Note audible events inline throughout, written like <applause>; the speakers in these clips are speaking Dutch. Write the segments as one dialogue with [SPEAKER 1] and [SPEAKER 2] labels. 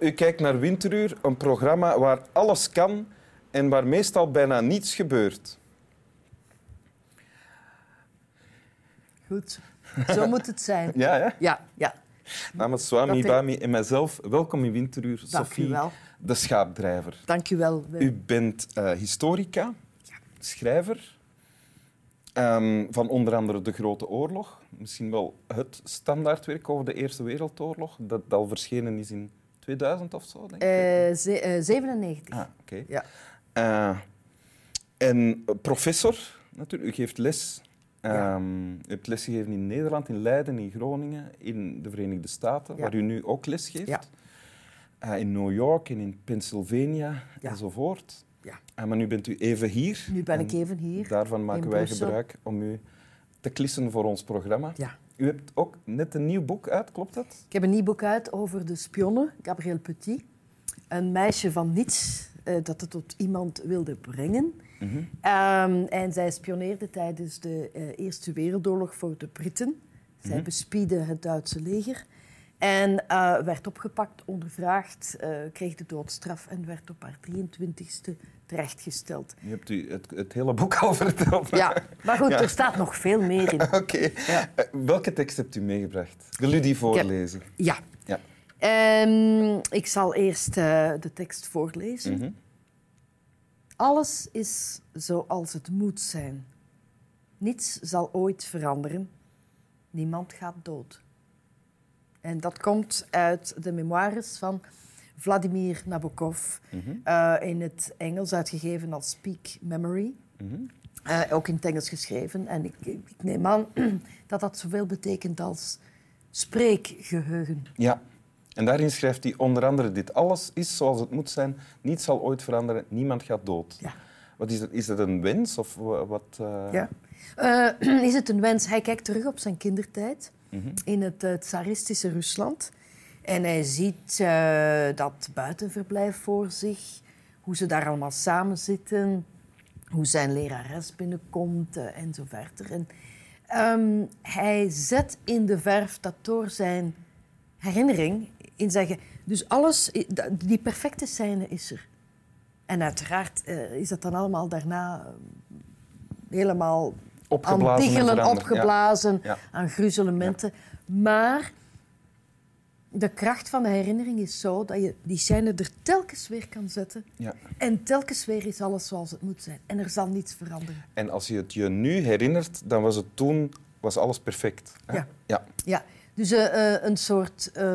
[SPEAKER 1] u kijkt naar Winteruur, een programma waar alles kan en waar meestal bijna niets gebeurt.
[SPEAKER 2] Goed, zo moet het zijn.
[SPEAKER 1] Ja, hè?
[SPEAKER 2] <laughs> Ja, ja.
[SPEAKER 1] Namens Swami,
[SPEAKER 2] Dat ik-
[SPEAKER 1] Bami en mijzelf, welkom in Winteruur,
[SPEAKER 2] Dank u
[SPEAKER 1] Sophie,
[SPEAKER 2] wel.
[SPEAKER 1] de schaapdrijver.
[SPEAKER 2] Dank u wel. Wim.
[SPEAKER 1] U bent eh, historica, schrijver ehm, van onder andere De Grote Oorlog. Misschien wel het standaardwerk over de Eerste Wereldoorlog, dat al verschenen is in 2000 of zo, denk ik.
[SPEAKER 2] Eh, ze- eh, 97.
[SPEAKER 1] Ah, oké.
[SPEAKER 2] Ja.
[SPEAKER 1] Eh, en professor, natuurlijk. U geeft les. Ehm, u hebt lesgegeven in Nederland, in Leiden, in Groningen, in de Verenigde Staten,
[SPEAKER 2] Ja.
[SPEAKER 1] waar u nu ook les geeft.
[SPEAKER 2] Ja.
[SPEAKER 1] Eh, in New York en in Pennsylvania
[SPEAKER 2] Ja.
[SPEAKER 1] enzovoort.
[SPEAKER 2] Ja.
[SPEAKER 1] Eh, maar nu bent u even hier.
[SPEAKER 2] Nu ben ik
[SPEAKER 1] En
[SPEAKER 2] even hier.
[SPEAKER 1] Daarvan maken wij
[SPEAKER 2] Brussel.
[SPEAKER 1] gebruik om u te klissen voor ons programma.
[SPEAKER 2] Ja.
[SPEAKER 1] U hebt ook net een nieuw boek uit, klopt dat?
[SPEAKER 2] Ik heb een nieuw boek uit over de spionne, Gabrielle Petit. Een meisje van niets eh, dat het tot iemand wilde brengen. Ehm, en zij spioneerde tijdens de eh, Eerste Wereldoorlog voor de Britten. Zij
[SPEAKER 1] Mhm.
[SPEAKER 2] bespiedde het Duitse leger. En eh, werd opgepakt, ondervraagd, eh, kreeg de doodstraf en werd op haar 23ste terechtgesteld.
[SPEAKER 1] Nu hebt u het, het hele boek <laughs> al verteld.
[SPEAKER 2] Ja, maar goed,
[SPEAKER 1] Ja.
[SPEAKER 2] er staat nog veel meer in.
[SPEAKER 1] Oké. Eh, welke tekst hebt u meegebracht? Wil u die voorlezen?
[SPEAKER 2] Ja.
[SPEAKER 1] Ja.
[SPEAKER 2] Ehm, ik zal eerst eh, de tekst voorlezen.
[SPEAKER 1] Mhm.
[SPEAKER 2] Alles is zoals het moet zijn. Niets zal ooit veranderen. Niemand gaat dood. En dat komt uit de memoires van Vladimir Nabokov.
[SPEAKER 1] mhm,
[SPEAKER 2] eh, in het Engels uitgegeven als Peak Memory.
[SPEAKER 1] mhm.
[SPEAKER 2] Eh, ook in het Engels geschreven. En ik, ik ik neem aan <clears throat> dat dat zoveel betekent als spreekgeheugen.
[SPEAKER 1] Ja. En daarin schrijft hij onder andere dit. Alles is zoals het moet zijn. Niets zal ooit veranderen. Niemand gaat dood.
[SPEAKER 2] Ja.
[SPEAKER 1] Wat is, dat, is dat een wens? Of wa- wat, eh,
[SPEAKER 2] Ja. Eh, <clears throat> is het een wens? Hij kijkt terug op zijn kindertijd in het eh, tsaristische Rusland. En hij ziet eh, dat buitenverblijf voor zich, hoe ze daar allemaal samen zitten, hoe zijn lerares binnenkomt eh, en zo verder. En, ehm, hij zet in de verf dat door zijn herinnering in zijn. ge- Dus alles, i- da- die perfecte scène is er. En uiteraard eh, is dat dan allemaal daarna eh, helemaal
[SPEAKER 1] Opgeblazen
[SPEAKER 2] aan
[SPEAKER 1] en
[SPEAKER 2] diggelen,
[SPEAKER 1] veranderd, ja.
[SPEAKER 2] opgeblazen,
[SPEAKER 1] Ja.
[SPEAKER 2] aan gruzelementen. Maar de kracht van de herinnering is zo dat je die scène er telkens weer kan zetten.
[SPEAKER 1] Ja.
[SPEAKER 2] En telkens weer is alles zoals het moet zijn. En er zal niets veranderen.
[SPEAKER 1] En als je het je nu herinnert, dan was het toen was alles perfect. hè?
[SPEAKER 2] Ja.
[SPEAKER 1] ja.
[SPEAKER 2] Ja, dus eh, eh, een soort eh,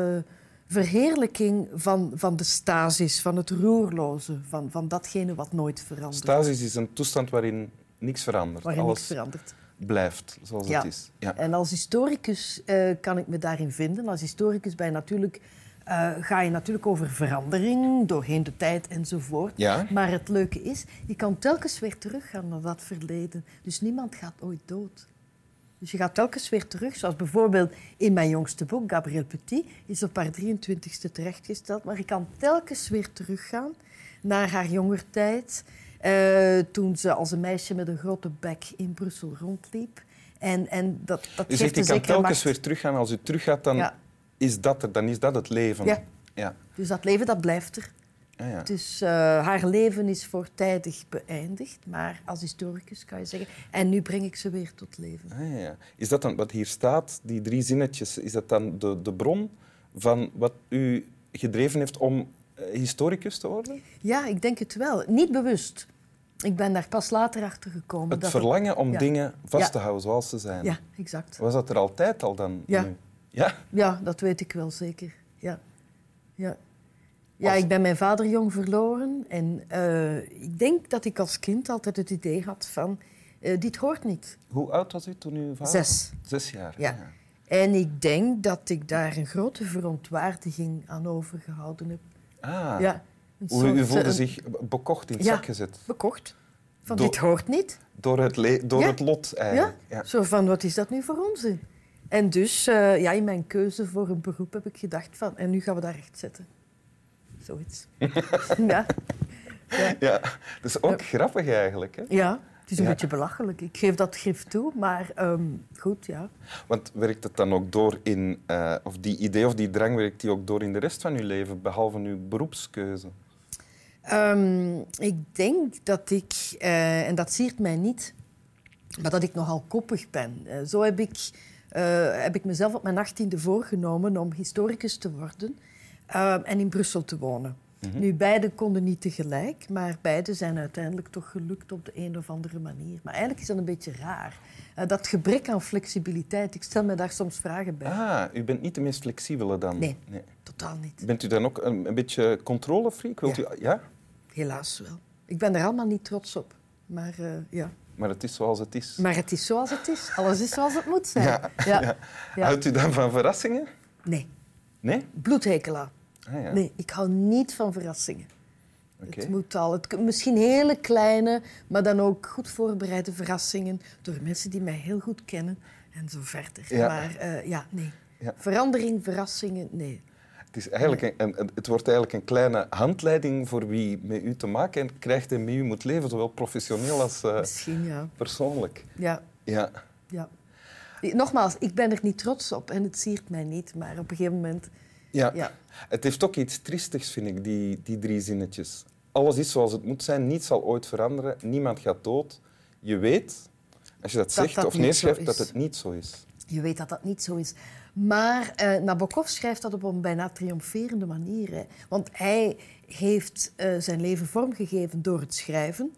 [SPEAKER 2] verheerlijking van, van de stasis, van het roerloze, van, van datgene wat nooit verandert.
[SPEAKER 1] Stasis is een toestand waarin niks verandert.
[SPEAKER 2] waarin
[SPEAKER 1] alles
[SPEAKER 2] niks verandert.
[SPEAKER 1] blijft zoals
[SPEAKER 2] Ja.
[SPEAKER 1] het is. Ja.
[SPEAKER 2] En als historicus eh, kan ik me daarin vinden. Als historicus ben je natuurlijk, eh, ga je natuurlijk over verandering, doorheen de tijd enzovoort.
[SPEAKER 1] Ja.
[SPEAKER 2] Maar het leuke is, je kan telkens weer teruggaan naar dat verleden. Dus niemand gaat ooit dood. Dus je gaat telkens weer terug. Zoals bijvoorbeeld in mijn jongste boek, Gabrielle Petit, is op haar 23ste terechtgesteld. Maar je kan telkens weer teruggaan naar haar jonger tijd. eh, toen ze als een meisje met een grote bek in Brussel rondliep. En, en dat, dat
[SPEAKER 1] U
[SPEAKER 2] geeft
[SPEAKER 1] zegt, je
[SPEAKER 2] een
[SPEAKER 1] kan
[SPEAKER 2] zekere
[SPEAKER 1] telkens
[SPEAKER 2] macht.
[SPEAKER 1] weer teruggaan. Als u teruggaat, dan,
[SPEAKER 2] Ja.
[SPEAKER 1] is, dat er, dan is dat het leven.
[SPEAKER 2] Ja.
[SPEAKER 1] Ja.
[SPEAKER 2] Dus dat leven, dat blijft er.
[SPEAKER 1] Ah, ja.
[SPEAKER 2] Dus eh, haar leven is voortijdig beëindigd. Maar als historicus kan je zeggen... En nu breng ik ze weer tot leven.
[SPEAKER 1] Ah, ja, ja. Is dat dan wat hier staat, die drie zinnetjes, is dat dan de, de bron van wat u gedreven heeft om eh, historicus te worden?
[SPEAKER 2] Ja, ik denk het wel. Niet bewust. Ik ben daar pas later achter gekomen.
[SPEAKER 1] Het
[SPEAKER 2] dat
[SPEAKER 1] verlangen om
[SPEAKER 2] ja.
[SPEAKER 1] dingen vast
[SPEAKER 2] Ja.
[SPEAKER 1] te houden zoals ze zijn.
[SPEAKER 2] Ja, exact.
[SPEAKER 1] Was dat er altijd al dan?
[SPEAKER 2] Ja.
[SPEAKER 1] Nu? Ja?
[SPEAKER 2] Ja, dat weet ik wel zeker. Ja, ja. ja
[SPEAKER 1] Als-
[SPEAKER 2] ik ben mijn vader jong verloren. En eh, ik denk dat ik als kind altijd het idee had van... eh, dit hoort niet.
[SPEAKER 1] Hoe oud was u toen uw vader?
[SPEAKER 2] Zes.
[SPEAKER 1] Zes jaar. ah,
[SPEAKER 2] Ja. En ik denk dat ik daar een grote verontwaardiging aan overgehouden heb.
[SPEAKER 1] Ah.
[SPEAKER 2] Ja, een
[SPEAKER 1] Hoe u
[SPEAKER 2] soort,
[SPEAKER 1] voelde
[SPEAKER 2] eh, een-
[SPEAKER 1] zich bekocht in het
[SPEAKER 2] Ja.
[SPEAKER 1] zak gezet.
[SPEAKER 2] Bekocht. Van,
[SPEAKER 1] Door-
[SPEAKER 2] dit hoort niet.
[SPEAKER 1] Door het, le- door
[SPEAKER 2] Ja.
[SPEAKER 1] het lot
[SPEAKER 2] Ja?
[SPEAKER 1] eigenlijk. Ja.
[SPEAKER 2] Zo van, wat is dat nu voor onzin? En dus, eh, ja, in mijn keuze voor een beroep heb ik gedacht van... En nu gaan we daar recht zetten.
[SPEAKER 1] <laughs>
[SPEAKER 2] Zoiets. ja.
[SPEAKER 1] Ja. Dat is ook Dus grappig eigenlijk. Hè?
[SPEAKER 2] ja. Het is een
[SPEAKER 1] Ja.
[SPEAKER 2] beetje belachelijk. Ik geef dat grif toe, maar ehm, goed, ja.
[SPEAKER 1] Want werkt het dan ook door in, eh, of die idee of die drang werkt die ook door in de rest van uw leven, behalve uw beroepskeuze?
[SPEAKER 2] Ehm, ik denk dat ik, eh, en dat siert mij niet, maar dat ik nogal koppig ben. Eh, zo heb ik, eh, heb ik mezelf op mijn 18e voorgenomen om historicus te worden ehm, en in Brussel te wonen. Nu, beide konden niet tegelijk, maar beide zijn uiteindelijk toch gelukt op de een of andere manier. Maar eigenlijk is dat een beetje raar. Eh, dat gebrek aan flexibiliteit, ik stel me daar soms vragen bij.
[SPEAKER 1] Ah, u bent niet de meest flexibele dan?
[SPEAKER 2] Nee. Totaal niet.
[SPEAKER 1] Bent u dan ook een, een beetje controlefreak? Wilt
[SPEAKER 2] Ja.
[SPEAKER 1] U, ja?
[SPEAKER 2] Helaas wel. Ik ben er allemaal niet trots op. Maar eh, ja.
[SPEAKER 1] Maar het is zoals het is.
[SPEAKER 2] Maar het is zoals het is. Alles is zoals het moet zijn.
[SPEAKER 1] Ja, ja.
[SPEAKER 2] ja.
[SPEAKER 1] Houdt u dan van verrassingen?
[SPEAKER 2] Nee,
[SPEAKER 1] Nee?
[SPEAKER 2] bloedhekelaar.
[SPEAKER 1] Ah, ja.
[SPEAKER 2] Nee, ik hou niet van verrassingen.
[SPEAKER 1] Oké.
[SPEAKER 2] Het moet al. Het, misschien hele kleine, maar dan ook goed voorbereide verrassingen door mensen die mij heel goed kennen en zo verder.
[SPEAKER 1] Ja.
[SPEAKER 2] Maar eh, ja, nee.
[SPEAKER 1] Ja.
[SPEAKER 2] Verandering, verrassingen, nee.
[SPEAKER 1] Het, is eigenlijk een, een- het wordt eigenlijk een kleine handleiding voor wie met u te maken krijgt en met u moet leven, zowel professioneel als eh,
[SPEAKER 2] Misschien ja.
[SPEAKER 1] persoonlijk.
[SPEAKER 2] Ja,
[SPEAKER 1] Ja.
[SPEAKER 2] ja. Nogmaals, ik ben er niet trots op en het siert mij niet, maar op een gegeven moment.
[SPEAKER 1] Ja.
[SPEAKER 2] Ja.
[SPEAKER 1] Het heeft ook iets triestigs, vind ik, die, die drie zinnetjes. Alles is zoals het moet zijn, niets zal ooit veranderen, niemand gaat dood. Je weet, als je dat, zegt
[SPEAKER 2] dat
[SPEAKER 1] of
[SPEAKER 2] niet zo
[SPEAKER 1] neerschrijft,
[SPEAKER 2] is.
[SPEAKER 1] dat het niet zo is.
[SPEAKER 2] Je weet dat dat niet zo is. Maar eh, Nabokov schrijft dat op een bijna triomferende manier. Hè. Want hij heeft eh, zijn leven vormgegeven door het schrijven.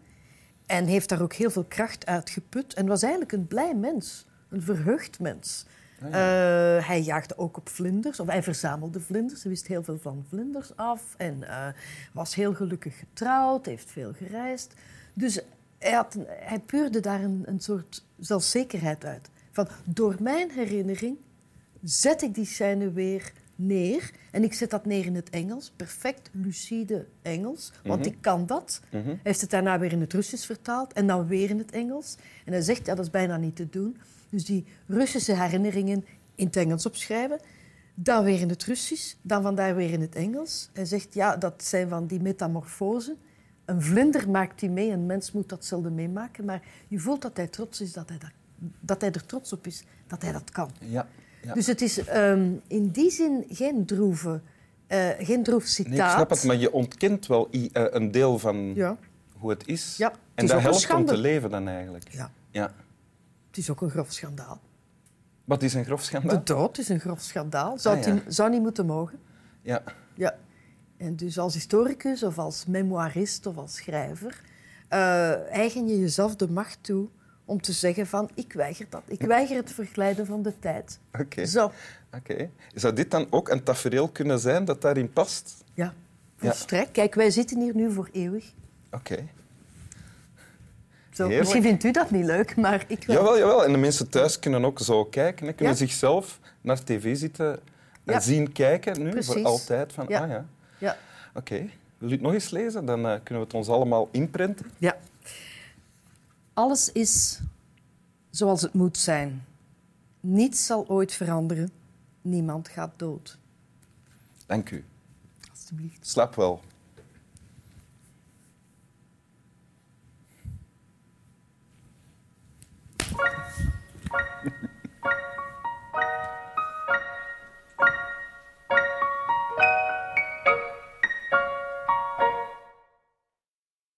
[SPEAKER 2] En heeft daar ook heel veel kracht uit geput. En was eigenlijk een blij mens. Een verheugd mens.
[SPEAKER 1] Ah,
[SPEAKER 2] Eh, hij jaagde ook op vlinders, of hij verzamelde vlinders. Hij wist heel veel van vlinders af. En eh, was heel gelukkig getrouwd, heeft veel gereisd. Dus hij, had, een- hij puurde daar een, een soort zelfzekerheid uit. Van, door mijn herinnering zet ik die scène weer neer. En ik zet dat neer in het Engels. Perfect lucide Engels. Want ik kan dat.
[SPEAKER 1] Hm?
[SPEAKER 2] Hij heeft het daarna weer in het Russisch vertaald. En dan weer in het Engels. En hij zegt, ja, dat is bijna niet te doen. Dus die Russische herinneringen in het Engels opschrijven. Dan weer in het Russisch. Dan vandaar weer in het Engels. Hij zegt, ja, dat zijn van die metamorfosen. Een vlinder maakt die mee. Een mens moet dat zelden meemaken. Maar je voelt dat hij trots is, dat hij, dat, dat hij er trots op is. Dat hij dat kan.
[SPEAKER 1] Ja. ja.
[SPEAKER 2] Dus het is ehm, in die zin geen droeve, eh, geen droef citaat.
[SPEAKER 1] Nee, ik snap het, maar je ontkent wel i- eh, een deel van
[SPEAKER 2] Ja.
[SPEAKER 1] hoe het is.
[SPEAKER 2] Ja, het
[SPEAKER 1] en
[SPEAKER 2] is
[SPEAKER 1] dat
[SPEAKER 2] ook een
[SPEAKER 1] helpt om
[SPEAKER 2] schande.
[SPEAKER 1] te leven dan eigenlijk.
[SPEAKER 2] ja,
[SPEAKER 1] Ja.
[SPEAKER 2] het is ook een grof schandaal.
[SPEAKER 1] Wat is een grof schandaal?
[SPEAKER 2] De dood is een grof schandaal. Zou,
[SPEAKER 1] Ah,
[SPEAKER 2] het
[SPEAKER 1] ja.
[SPEAKER 2] in- zou niet moeten mogen.
[SPEAKER 1] Ja.
[SPEAKER 2] Ja. En dus als historicus of als memoirist of als schrijver eh, eigen je jezelf de macht toe om te zeggen van ik weiger dat. Ik weiger het verglijden van de tijd.
[SPEAKER 1] Oké.
[SPEAKER 2] Zo.
[SPEAKER 1] Oké. Zou dit dan ook een tafereel kunnen zijn dat daarin past?
[SPEAKER 2] Ja, volstrekt. Kijk, wij zitten hier nu voor eeuwig.
[SPEAKER 1] Oké.
[SPEAKER 2] Zo.
[SPEAKER 1] Heerlijk.
[SPEAKER 2] Misschien vindt u dat niet leuk, maar ik wel.
[SPEAKER 1] Jawel, jawel. En de mensen thuis kunnen ook zo kijken. Hè. Kunnen
[SPEAKER 2] Ja.
[SPEAKER 1] zichzelf naar tv zitten en
[SPEAKER 2] Ja.
[SPEAKER 1] zien kijken nu voor
[SPEAKER 2] Precies.
[SPEAKER 1] altijd. Van,
[SPEAKER 2] Ja.
[SPEAKER 1] Ah ja,
[SPEAKER 2] Ja.
[SPEAKER 1] oké. Wil u het nog eens lezen? Dan eh, kunnen we het ons allemaal inprenten.
[SPEAKER 2] Ja. Alles is zoals het moet zijn. Niets zal ooit veranderen. Niemand gaat dood.
[SPEAKER 1] Dank u.
[SPEAKER 2] Alsjeblieft.
[SPEAKER 1] Slaap wel.